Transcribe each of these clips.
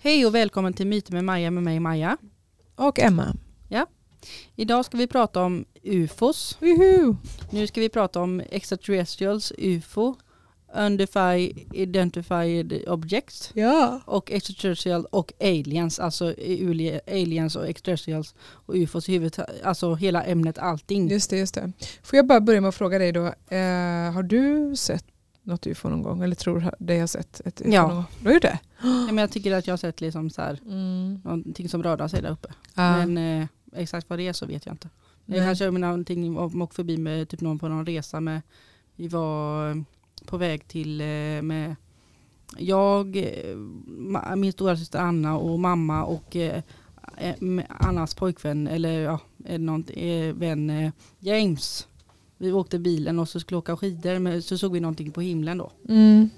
Hej och välkommen till Myter med Maja med mig Maja. Och Emma. Idag ska vi prata om UFOs. Woohoo! Nu ska vi prata om extraterrestrials, UFO, Undefined Identified Objects Ja. och extraterrestrial och aliens, alltså uli- aliens och extraterrestrials och UFOs i huvudet, alltså hela ämnet allting. Just det, just det. Får jag bara börja med att fråga dig då. Eh, har du sett något ufo någon gång? Eller tror dig har sett ett ufo Ja. någon gång? Du har gjort det? Ja, men jag tycker att jag har sett liksom så här, Mm. någonting som rör sig där uppe. Men eh, exakt vad det är så vet jag inte. Jag Nej. kanske menar någonting om åkte förbi med typ någon på någon resa med, vi var eh, på väg till eh, med jag, eh, ma- min stora syster Anna och mamma och eh, eh, med Annas pojkvän eller ja, eh, någon, eh, vän eh, James. Vi åkte bilen och så skulle åka skidor men så såg vi någonting på himlen då. Mm.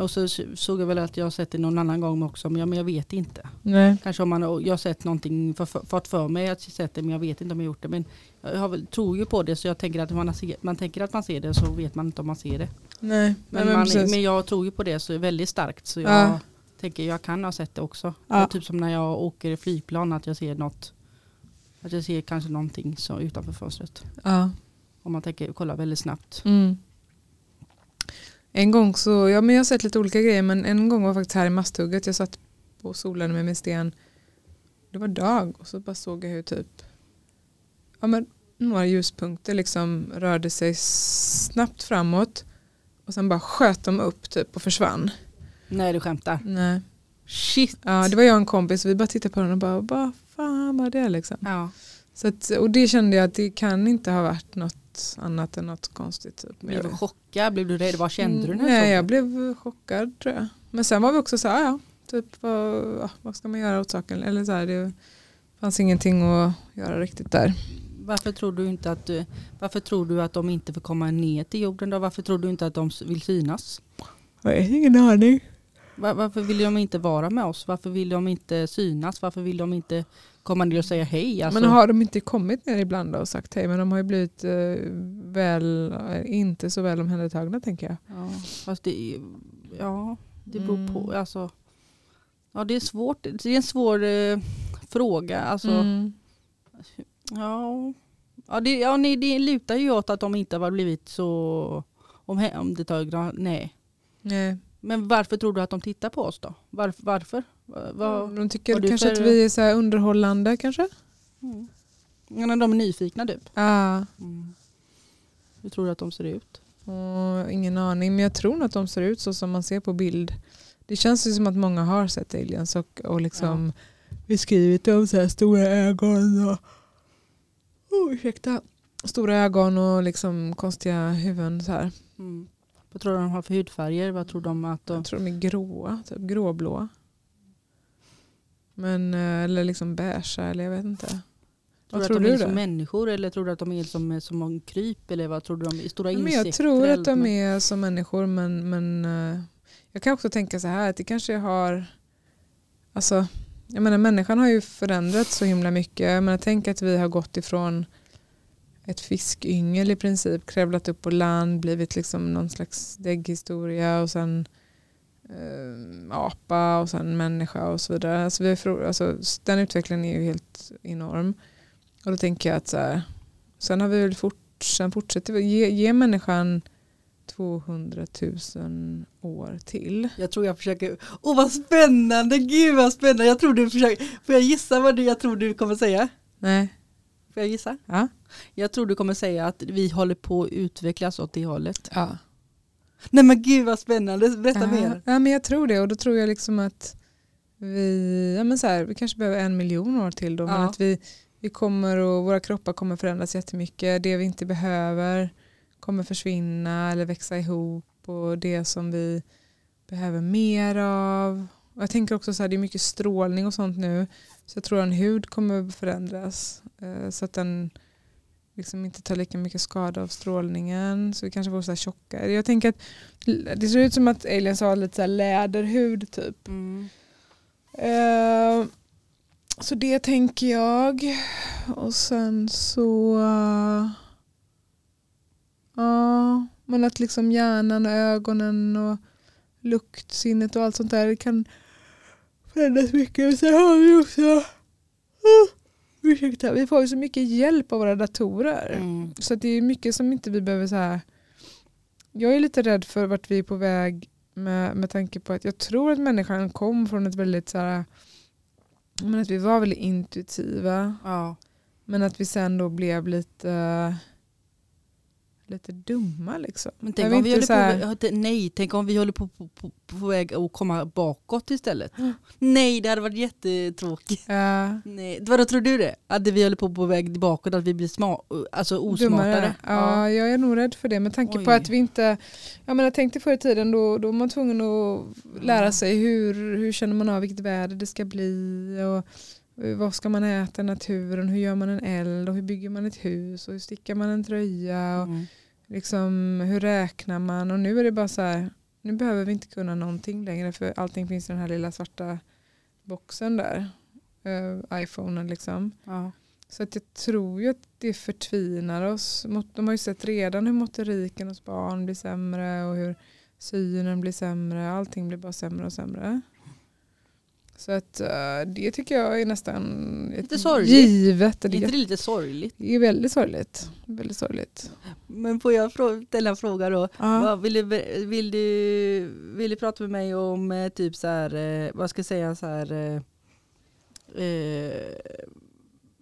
Och så så- såg jag väl att jag har sett det någon annan gång också men jag, men jag vet inte. Nej. Kanske om man, har- jag har sett någonting, för, för, fått för mig att jag sett det men jag vet inte om jag gjort det. Men jag har, väl- tror ju på det så jag tänker att om man, har se, man tänker att man ser det så vet man inte om man ser det. Nej. Men, Nej, man, precis. men jag tror ju på det så väldigt starkt så jag Ja. tänker jag kan ha sett det också. Ja. Och Typ som när jag åker flygplan att jag ser något. Att jag ser kanske någonting så utanför fönstret. ja. Om man tänker kolla väldigt snabbt. Mm. En gång så, ja men jag har sett lite olika grejer men en gång var faktiskt här i Masthugget, jag satt på solen med min sten. Det var dag och så bara såg jag hur typ, ja men några ljuspunkter liksom rörde sig snabbt framåt och sen bara sköt de upp typ och försvann. Nej du skämtar. Nej. Shit. Ja, det var jag och en kompis, vi bara tittade på den och bara, vad fan var det liksom? Ja. Så att, och det kände jag att det kan inte ha varit något annat än något konstigt. Typ. Men Blev jag du vet- chockad? Blev du rädd? Vad kände du när du såg Mm, Nej, det? jag blev chockad tror jag. Men sen var vi också så här, ja, typ vad, ja, vad ska man göra åt saken? Eller så här, det fanns ingenting att göra riktigt där. Varför tror du inte att, du- varför tror du att de inte får komma ner till jorden då? Varför tror du inte att de s- vill synas? Jag har ingen aning. Va- Varför vill de inte vara med oss? Varför vill de inte synas? Varför vill de inte komma ner och säga hej? Alltså, Men har de inte kommit ner ibland då och sagt hej? Men de har ju blivit eh, väl, eh, inte så väl omhändertagna tänker jag. ja, fast det, är- ja, det beror Mm. på. Alltså, ja, det är svårt. Det är en svår eh, fråga. Alltså, Mm. ja, ja, det, ja, nej, det lutar ju åt att de inte har blivit så omhä- omhändertagna. Nej. Nej. Men varför tror du att de tittar på oss då? Varf- varför? Va- va- de tycker vad du kanske för- att vi är så här underhållande kanske? Mm. Ja, när de är nyfikna typ. Ja. Hur tror du att de ser ut? Och ingen aning, men jag tror nog att de ser ut så som man ser på bild. Det känns ju som att många har sett aliens och, och liksom beskrivit dem så här stora ögon och oh, ursäkta. Stora ögon och liksom konstiga huvuden så här. Vad tror du de har för hudfärger? Mm. Vad tror de att de... Jag tror de är gråa, typ gråblåa. Men, eh, eller liksom beige eller jag vet inte. Tror Vad du tror att de du är som det? människor eller tror du att de är som, som en kryp? Eller vad tror du de är? Stora Men insekter? jag tror eller att de något? är som människor men, men eh, jag kan också tänka så här att det kanske har alltså jag menar människan har ju förändrats så himla mycket jag menar tänk att vi har gått ifrån ett fiskyngel i princip kravlat upp på land blivit liksom någon slags dägghistoria och sen eh, apa och sen människa och så vidare alltså, vi har, fro- alltså, s- den utvecklingen är ju helt enorm och då tänker jag att så här, sen har vi väl fort sen fortsätter vi ge, ge människan 200 000 år till. Jag tror jag försöker... Åh vad spännande! Gud vad spännande! Jag tror du försöker... Får jag gissa vad du, jag tror du kommer säga? Nej. Får jag gissa? Ja. Jag tror du kommer säga att vi håller på att utvecklas åt det hållet. ja. Nej men gud vad spännande! Berätta mer! Äh, Ja, men jag tror det och då tror jag liksom att vi, ja, men så här, vi kanske behöver en miljon år till då men Ja. att vi, vi kommer och våra kroppar kommer förändras jättemycket. Det vi inte behöver kommer försvinna eller växa ihop och det som vi behöver mer av. Och jag tänker också så här, det är mycket strålning och sånt nu så jag tror att en hud kommer förändras eh, så att den liksom inte tar lika mycket skada av strålningen så vi kanske får så här tjockare. Jag tänker att l- det ser ut som att aliens har lite så här läderhud typ. Mm. Eh, så det tänker jag. Och sen så... eh, Ja, men att liksom hjärnan och ögonen och luktsinnet och allt sånt där kan förändrats mycket. Men sen har vi också, Ah, ursäkta, vi får ju så mycket hjälp av våra datorer. Mm. Så att det är mycket som inte vi behöver så här. Jag är lite rädd för vart vi är på väg med, med tanke på att jag tror att människan kom från ett väldigt så här, men att vi var väldigt intuitiva. Ja. Men att vi sen då blev lite, lite dumma liksom. Men Jag tänk vet om, vi inte håller så här- på, ja, nej, tänk om vi håller på, på, på, på väg att komma bakåt istället. Nej, det hade varit jättetråkigt. Eh, Nej. Vadå, tror du det? Att vi håller på på väg bakåt, att vi blir sma, alltså osmartare? Dummare. Ja, jag är nog rädd för det med tanke på Oj. att vi inte, jag menar tänkte förr i tiden då, då var man tvungen att Mm. lära sig hur, hur känner man av vilket väder det ska bli och eh, vad ska man äta i naturen, hur gör man en eld och hur bygger man ett hus och hur stickar man en tröja och Mm. liksom, hur räknar man och nu är det bara så här, nu behöver vi inte kunna någonting längre för allting finns i den här lilla svarta boxen där, eh, iPhonen liksom. Ja. Så att jag tror ju att det förtvinar oss. Mot- De har ju sett redan hur motoriken hos barn blir sämre och hur synen blir sämre. Allting blir bara sämre och sämre. Så att eh, det tycker jag är nästan ett Lite sorgligt. givet. Är Det inte är- det lite sorgligt? det är väldigt sorgligt. Väldigt sorgligt. Men får jag frå- ställa en fråga då? Ja. Vad, vill, du, be- vill, du, vill du prata med mig om eh, typ så här, eh, vad ska jag säga så här, eh, eh,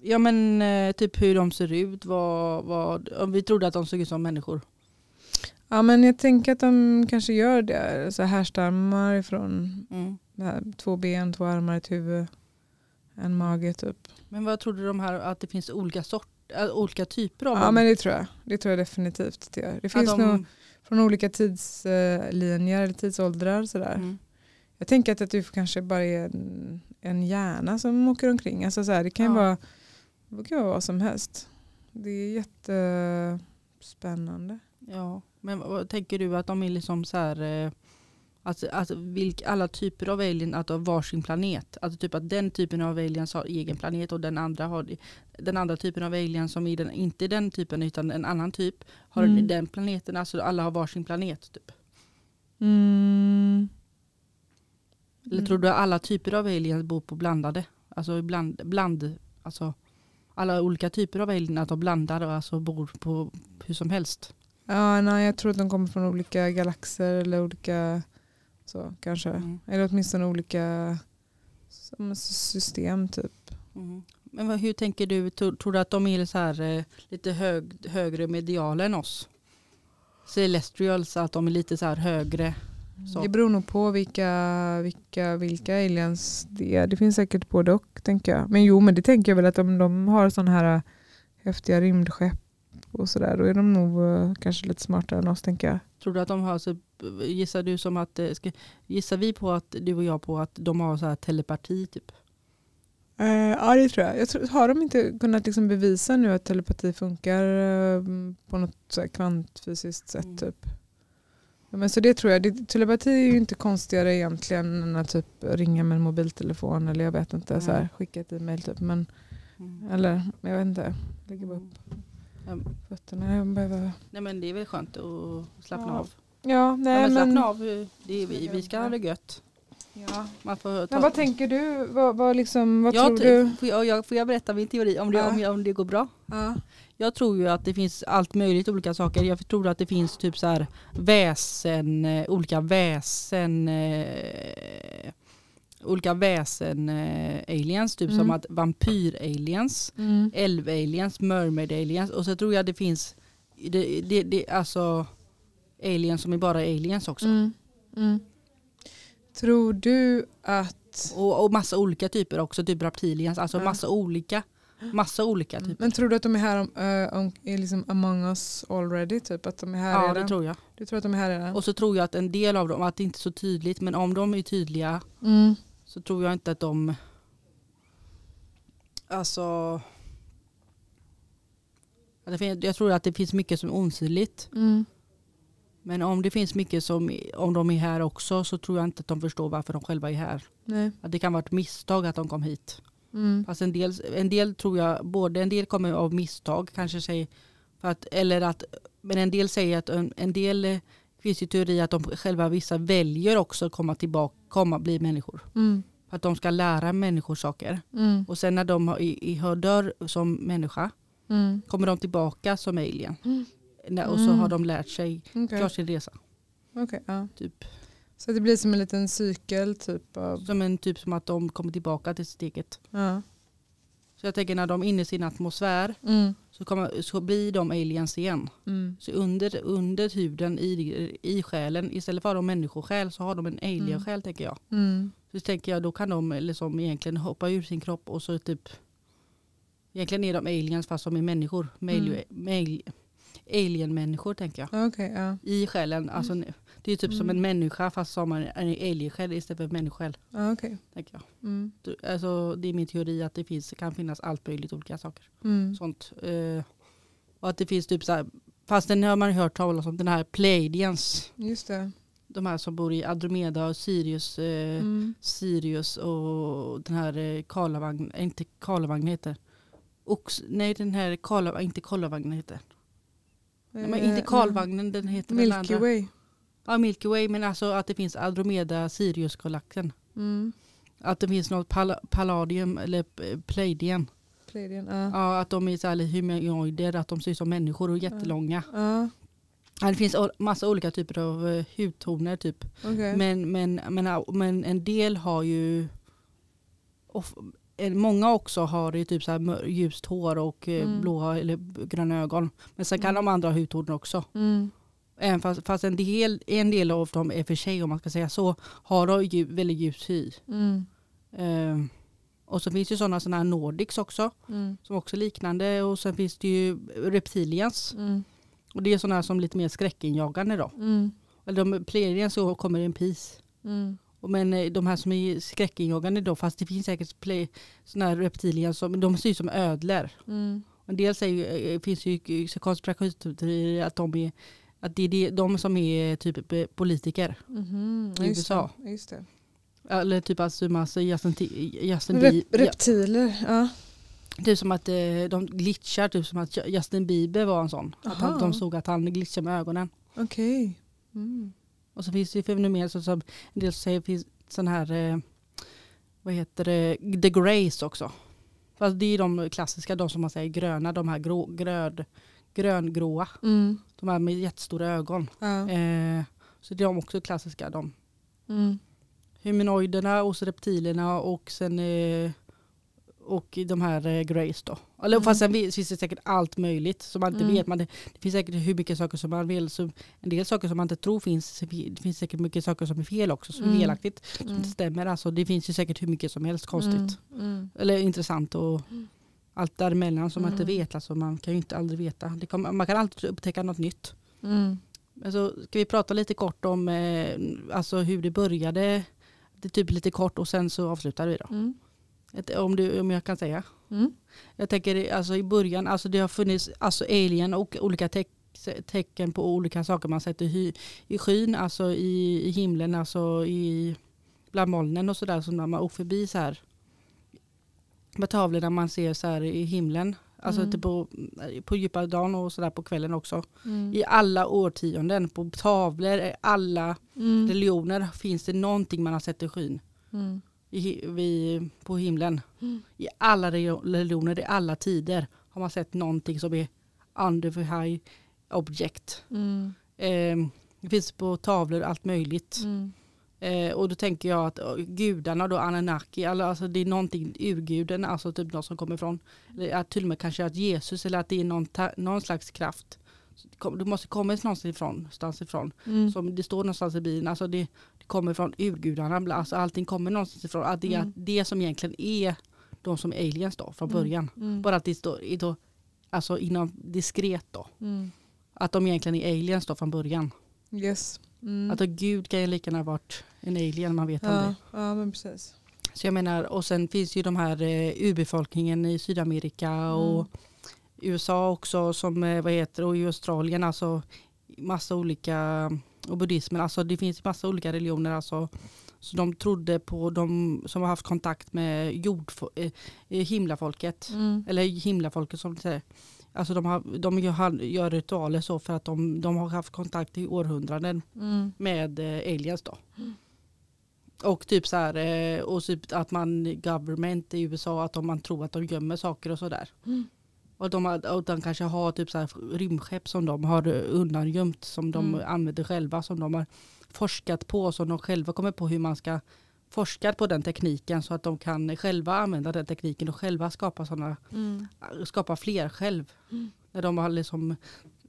ja men eh, typ hur de ser ut, vad, vad, om vi trodde att de såg ut som människor. ja men jag tänker att de kanske gör det. Så här härstammar ifrån det här, två ben, två armar, ett huvud, en mage typ. Men vad trodde de här att det finns olika sort, äh, olika typer av Ja dem? men det tror jag. Det tror jag definitivt att det gör. Det att finns nog från olika tidslinjer eller tidsåldrar. Sådär. mm. Jag tänker att, att du kanske bara är en, en hjärna som åker omkring. Alltså, såhär, det kan ju Ja. vara, det kan vara vad som helst. Det är jättespännande. ja. Men vad tänker du att de är liksom så här, eh, att, att vilk, alla typer av alien att har varsin planet? Alltså typ att den typen av aliens har egen planet och den andra har den andra typen av alien som är den, inte den typen utan en annan typ har Mm. den- den planeten, alltså alla har varsin planet typ. Mm. Eller tror du att alla typer av aliens bor på blandade? Alltså bland, bland alltså alla olika typer av alien att de blandar och alltså bor på hur som helst. Ja, nej, jag tror att de kommer från olika galaxer eller olika så kanske. Mm. Eller åtminstone olika som system typ. Mm. Men vad, hur tänker du, tror, tror du att de är så här, eh, lite hög, högre mediala än oss? Celestials, att de är lite så här högre. Så. Det beror nog på vilka, vilka, vilka aliens det är. Det finns säkert både och tänker jag. Men jo, men det tänker jag väl att om de har sådana här äh, häftiga rymdskepp och sådär, då är de nog äh, kanske lite smartare än oss tänker jag. Tror du att de har, så, gissar du som att, eh, ska, gissar vi på att, du och jag på att de har så här telepati typ? Eh, ja, det tror jag. jag tror, har de inte kunnat liksom bevisa nu att telepati funkar äh, på något så här kvantfysiskt sätt Mm. typ? Ja, men så det tror jag. Det, telepati är ju inte konstigare egentligen än att typ ringa med en mobiltelefon eller jag vet inte, så här, Nej. skicka ett e-mail typ. Men Eller jag vet inte. Lägger bara upp fötterna. Jag behöver... Nej men det är väl skönt att slappna Ja. av. Ja, ja, nej, men, men, slappna av, eh, det är, vi, vi ska ha det gött. ja. Man får ta, men vad tänker du? Vad, vad, liksom, vad jag, tror tr- du? Får jag, jag, får jag berätta min teori om det, Ja. om, jag, om det går bra? Ja. Jag tror ju att det finns allt möjligt olika saker. Jag tror att det finns typ så här väsen, eh, olika väsen, eh, olika väsen eh, aliens, typ Mm. som att vampyr aliens, Mm. älv aliens, mermaid aliens och så tror jag det finns det, det, det, alltså aliens som är bara aliens också. Mm. Mm. Tror du att... Och, och massa olika typer också, typ reptilians, alltså Ja. massa olika, massa olika typer. Men tror du att de är här om, eh, om, är liksom among us already? Typ att de är här Ja redan? det tror jag. Du tror att de är här redan? Och så tror jag att en del av dem, att det inte är så tydligt, men om de är tydliga Mm. så tror jag inte att de... Alltså... att det fin- Jag tror att det finns mycket som är osynligt. Mm. Men om det finns mycket som, om de är här också så tror jag inte att de förstår varför de själva är här. Nej. Att det kan vara ett misstag att de kom hit. Mm. Fast en del, en del tror jag, både en del kommer av misstag kanske säger, för att, eller att, men en del säger att en, en del eh, finns ju teori att de själva vissa väljer också att komma tillbaka, komma, bli människor. Mm. För att de ska lära människor saker. Mm. Och sen när de har, i, i har dör som människa Mm. kommer de tillbaka som alien. Mm. När- Och så Mm. har de lärt sig Okej. klart sin resa. Okej, ja. Typ. Så det blir som en liten cykel typ av... Som en typ som att de kommer tillbaka till sitt eget. Ja. Så jag tänker när de är inne i sin atmosfär Mm. så, kommer, så blir de aliens igen. Mm. Så under, under huden i, i själen, istället för att ha människosjäl så har de en alien-själ tänker jag. Mm. Så tänker jag då kan de liksom egentligen hoppa ur sin kropp och så typ Egentligen är de aliens fast som är människor. Mail, mail, alien-människor tänker jag. Mm. Okej, Mm. ja. Mm. I själen, alltså det är typ som en människa fast som en en alien-själ istället för en människosjäl. ja okej. Tänker jag. Mm. Du- Alltså, det är min teori att det finns, kan finnas allt möjligt olika saker. Mm. Sånt. Eh, och att det finns typ så här, fast den har man ju hört talas om, den här Pleiadians. Just det. De här som bor i Andromeda och Sirius. Eh, Mm. Sirius och den här eh, Karlavagn, eh, inte Karlavagn heter. Ox, nej den här Karlavagn, inte Karlavagnen heter. Nej, men Eh, inte Karlavagnen, den heter den Milky andra. Way. Ja, Milky Way, men alltså att det finns Andromeda, Sirius-galaxen. Mm. Att det finns något pal- Palladium eller eh, Pleiadien. Pleiadien, ja. Ja, att de är så här lite humanoider, att de ser ut som människor och är jättelånga. Ja, Ja, det finns o- massa olika typer av eh, hudtoner typ. okej. Men, men, men, men en del har ju, of, en- många också har ju typ så här mör- ljust hår och eh, Mm. blåa eller b- gröna ögon. Men sen kan de andra ha hudtoner också. Mm. Även fast, fast en, del, en del av dem är för sig om man ska säga så, har de ju väldigt ljus hy. Mm. Eh, och så finns det ju sådana såna här Nordics också, Mm. som också är liknande. Och sen finns det ju reptilians. Mm. Och det är sådana som lite mer skräckinjagande då. Mm. Eller de pleiadians så kommer en pis. Mm. Och Men eh, de här som är skräckinjagande då, fast det finns säkert play, såna här reptilier som, de ser ju som ödlor. Mm. En del säger, ju- eh, finns ju eh, konspirationsteorier att de är att det är de- de som är typ eh, politiker. Mhm, I just USA. det, Just det. Eller typ alltså, massa Justin, Ti- Justin Rep, Bieber. Ja, reptiler, ja. typ som att eh, de glitchar, typ som att Ju- Justin Bieber var en sån. Att han, Aha. de såg att han glitchade med ögonen. Okej. Mm. Och så finns det ju fenomen som, som en del säger finns sån här, eh, vad heter det, the grays också. Fast det är de klassiska, de som man säger gröna, de här grå, gröd, gröngråa, Mm. de här med jättestora ögon. Ja. Eh, så det är de också klassiska. De. Eh. Mm. Humanoiderna och så reptilerna och sen eh, och de här eh, grays då. Eller Mm. fast sen vi- finns det säkert allt möjligt som man inte Mm. vet. Man, det, det finns säkert hur mycket saker som man vill. Så en del saker som man inte tror finns. Det finns säkert mycket saker som är fel också. Som Mm. är felaktigt. Som Mm. inte stämmer. Alltså, det finns ju säkert hur mycket som helst konstigt. Mm. Mm. Eller intressant och allt däremellan som man inte Mm. vet. Alltså, man kan ju inte aldrig veta. Det kommer, man kan alltid upptäcka något nytt. Mm. Men så Alltså, ska vi prata lite kort om eh, alltså hur det började. Det är typ lite kort och sen så avslutar vi då. Mm. Ett- Om, du, om jag kan säga. Mm. Jag tänker alltså i början, alltså det har funnits alltså alien och olika teck, tecken på olika saker man sett i, hy, i skyn, alltså i, i himlen, alltså i, bland molnen och sådär. Så när man åker förbi så här med tavlorna man ser så här i himlen, alltså Mm. typ på, på djupa dagen och sådär på kvällen också. Mm. I alla årtionden, på tavlor, i alla Mm. religioner finns det någonting man har sett i skyn Mm. i, hi- vi, på himlen. Mm. I alla regio- religioner, i alla tider har man sett någonting som är under for high object. Mm. Ehm, det finns på tavlor allt möjligt. Mm. Eh, och då tänker jag att eh, gudarna då, Anunnaki, alla- alltså det är någonting urguden, alltså typ något som kommer från, eller att till och med kanske att Jesus eller att det är någon, ta, någon slags kraft. Så det kom- Det måste komma någonstans ifrån, någonstans ifrån Mm. som det står någonstans i Bibeln, alltså det, det kommer från urgudarna, bla- alltså allting kommer någonstans ifrån. Att det, är Mm. det som egentligen är de som är aliens då från Mm. början. Mm. Bara att det står i då, alltså inom diskret då. Mm. Att de egentligen är aliens då från början. Yes. Mm. Att då Gud kan ju lika gärna ha varit en alien, man vet ja. aldrig. ja, men precis. Så jag menar, och sen finns ju de här eh, urbefolkningen i Sydamerika och Mm. USA också som, eh, vad heter det, och i Australien, alltså massa olika, och buddhismen, alltså det finns massa olika religioner, alltså så de trodde på de som har haft kontakt med jord, eh, eh, himlafolket, Mm. eller himlafolket som det säger. Alltså de, har, de gör, gör ritualer så för att de, de har haft kontakt i århundraden Mm. med eh, aliens då. Och typ så här, eh, och typ att man government i USA, att om man tror att de gömmer saker och sådär. Mm. Och de, har- och de kanske har typ så här rymdskepp som de har eh, undangömt, som de Mm. använder själva, som de har forskat på, som de själva kommer på hur man ska forska på den tekniken så att de kan själva använda den tekniken och själva skapa sådana skapa fler själv. Mm. När de har liksom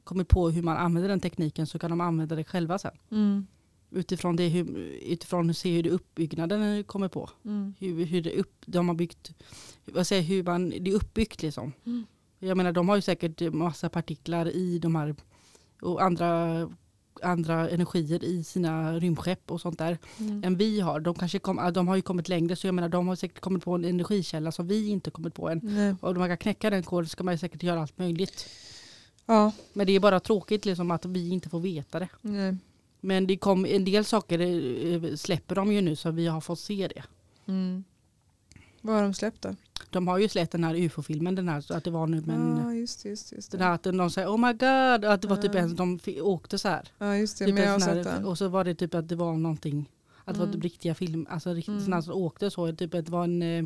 kommit på hur man använder den tekniken så kan de använda det själva sen. Mm. Utifrån, det, hur, utifrån att se hur det uppbyggnaden kommer på. Mm. Hur, hur det upp, de har byggt, vad säger, jag, hur man, det är uppbyggt liksom. Mm. Jag menar de har ju säkert massa partiklar i de här och andra, andra energier i sina rymdskepp och sånt där Mm. än vi har. De, kanske kom, de har ju kommit längre så jag menar de har säkert kommit på en energikälla som vi inte kommit på än. Nej. Och om man kan knäcka den koden ska man ju säkert göra allt möjligt. Ja, Men det är bara tråkigt liksom att vi inte får veta det. nej. Men det kom, en del saker eh, släpper de ju nu så vi har fått se det. Mm. Vad har de släppt då? De har ju släppt den här ufo-filmen, den här så att det var nu men ja, just det. Just det, just den det. här att de säger oh my god, att det var typ Mm. en som fi- åkte så här. Ja, just det. Typ men en jag har sån här- sett den. och så var det typ att det var någonting, att det var Mm. typ riktiga film, alltså riktigt Mm. sådana här som åkte så, typ att det var en, eh,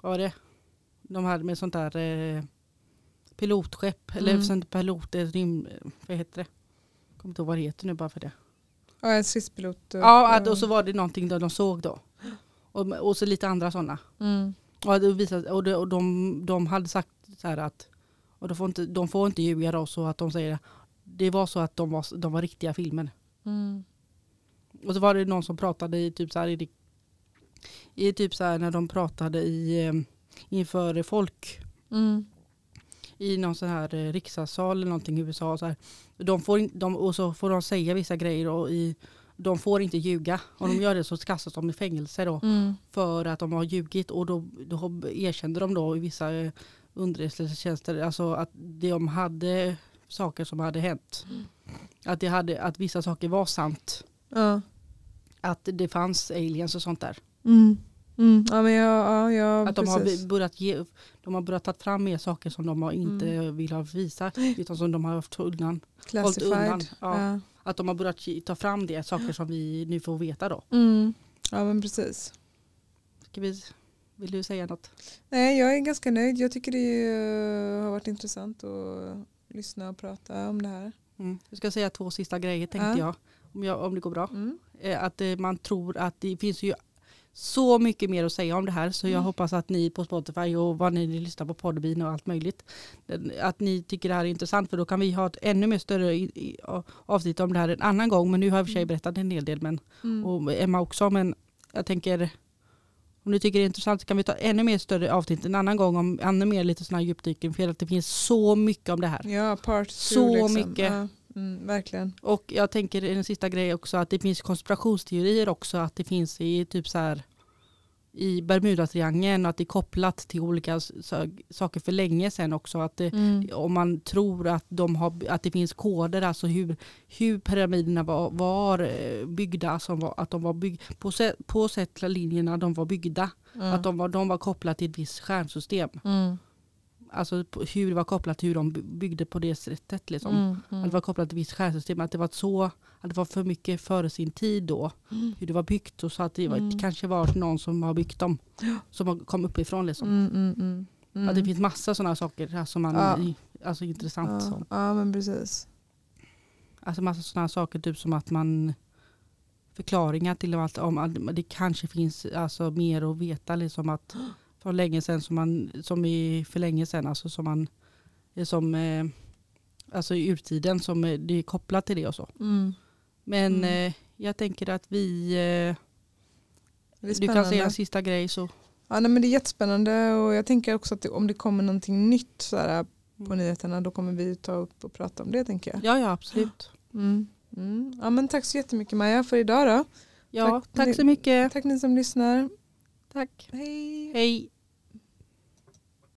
vad var det, de här med sånt där eh, pilotskepp, eller Mm. sånt pilot, eh, rym, eh, vad heter det? Kommer inte ihåg vad det heter nu bara för det. Ja, en stridspilot. Ja, Mm. att, och så var det någonting där de såg då. Och, och så lite andra sådana. Mm. Och, det visade, och, det, och de, de hade sagt så här att, och de får inte, de får inte ljuga då så att de säger, det var så att de var, de var riktiga filmen. Mm. Och så var det någon som pratade i typ så här, i, i typ så här när de pratade i, eh, inför folk Mm. i någon sån här eh, riksdagssal eller någonting i USA. Så här. De får in, de, och så får de säga vissa grejer och i, de får inte ljuga. Om de gör det så kastas de i fängelse då Mm. för att de har ljugit och då, då erkände de då i vissa eh, underrättelsetjänster alltså att de hade saker som hade hänt. Mm. Att, det hade, att vissa saker var sant. Ja. Att det fanns aliens och sånt där. Mm. Mm. Ja, men jag, ja, jag, Att de har, precis. börjat ge, de har börjat ta fram mer saker som de har inte vill ha visa utan som de har haft undan. hållit undan. Mm. Classified. Ja. Ja. Att de har börjat ge- ta fram det, saker som vi nu får veta då. Mm. ja, men precis. Ska vi, vill du säga något? Nej, jag är ganska nöjd. Jag tycker det eh, har varit intressant att lyssna och prata om det här. Mm. Jag ska säga två sista grejer tänkte Ja. jag, om, jag, om det går bra. Mm. Eh, Att eh, man tror att det finns ju så mycket mer att säga om det här så jag Mm. hoppas att ni på Spotify och vad ni lyssnar på Podbean och allt möjligt den- att ni tycker det här är intressant för då kan vi ha ett ännu mer större i- i- a- avsnitt om det här en annan gång men nu har jag i och för sig Mm. berättat en hel del men Mm. och Emma också. Men jag tänker, om ni tycker det är intressant så kan vi ta ännu mer större avsnitt en annan gång om ännu mer lite sådana här djupdykning för att det finns så mycket om det här. Ja, part two, Så liksom. mycket. Ja. Mm, verkligen. Och jag tänker en sista grej också att det finns konspirationsteorier också att det finns i typ så här i Bermudatriangeln och att det är kopplat till olika s- sö- saker för länge sedan också. Att det, om man tror att, de har, att det finns koder, alltså hur, hur pyramiderna var, var eh, byggda, som var, att de var bygg, på, sä- på sätt linjerna de var byggda, Ja. att de var, de var kopplade till ett visst stjärnsystem. Mm. Alltså på, hur det var kopplat till hur de by- byggde på det sättet. Liksom. Mm. Att det var kopplat till ett visst stjärnsystem, att det var, så, att det var för mycket före sin tid då, Mm. hur det var byggt. Och så att det var, Mm. det kanske var någon som har byggt dem, som har- kom uppifrån. Liksom. Mm, mm, mm. Mm. Att det finns massa sådana saker här som man, Ja. alltså intressant. ja. Sånt. Mm. ja, men precis. Alltså massa sådana saker, typ som att man förklaringar till allt om att det kanske finns alltså, mer att veta. Liksom att från länge sedan som man, som i för länge sedan, alltså som man, som, eh, alltså i urtiden som eh, det är kopplat till det och så. Mm. Men Mm. eh, jag tänker att vi, eh, Det du kan är säga en spännande. sista grej så. Ja, nej, men det är jättespännande och jag tänker också att det, om det kommer någonting nytt så här, äh, på Mm. nyheterna då kommer vi ta upp och prata om det tänker jag. Ja, ja absolut. Mm. Mm. Ja, men tack så jättemycket Maja för idag då. Ja, Tack. tack så mycket. Tack ni som lyssnar. Tack. Hej! Hej.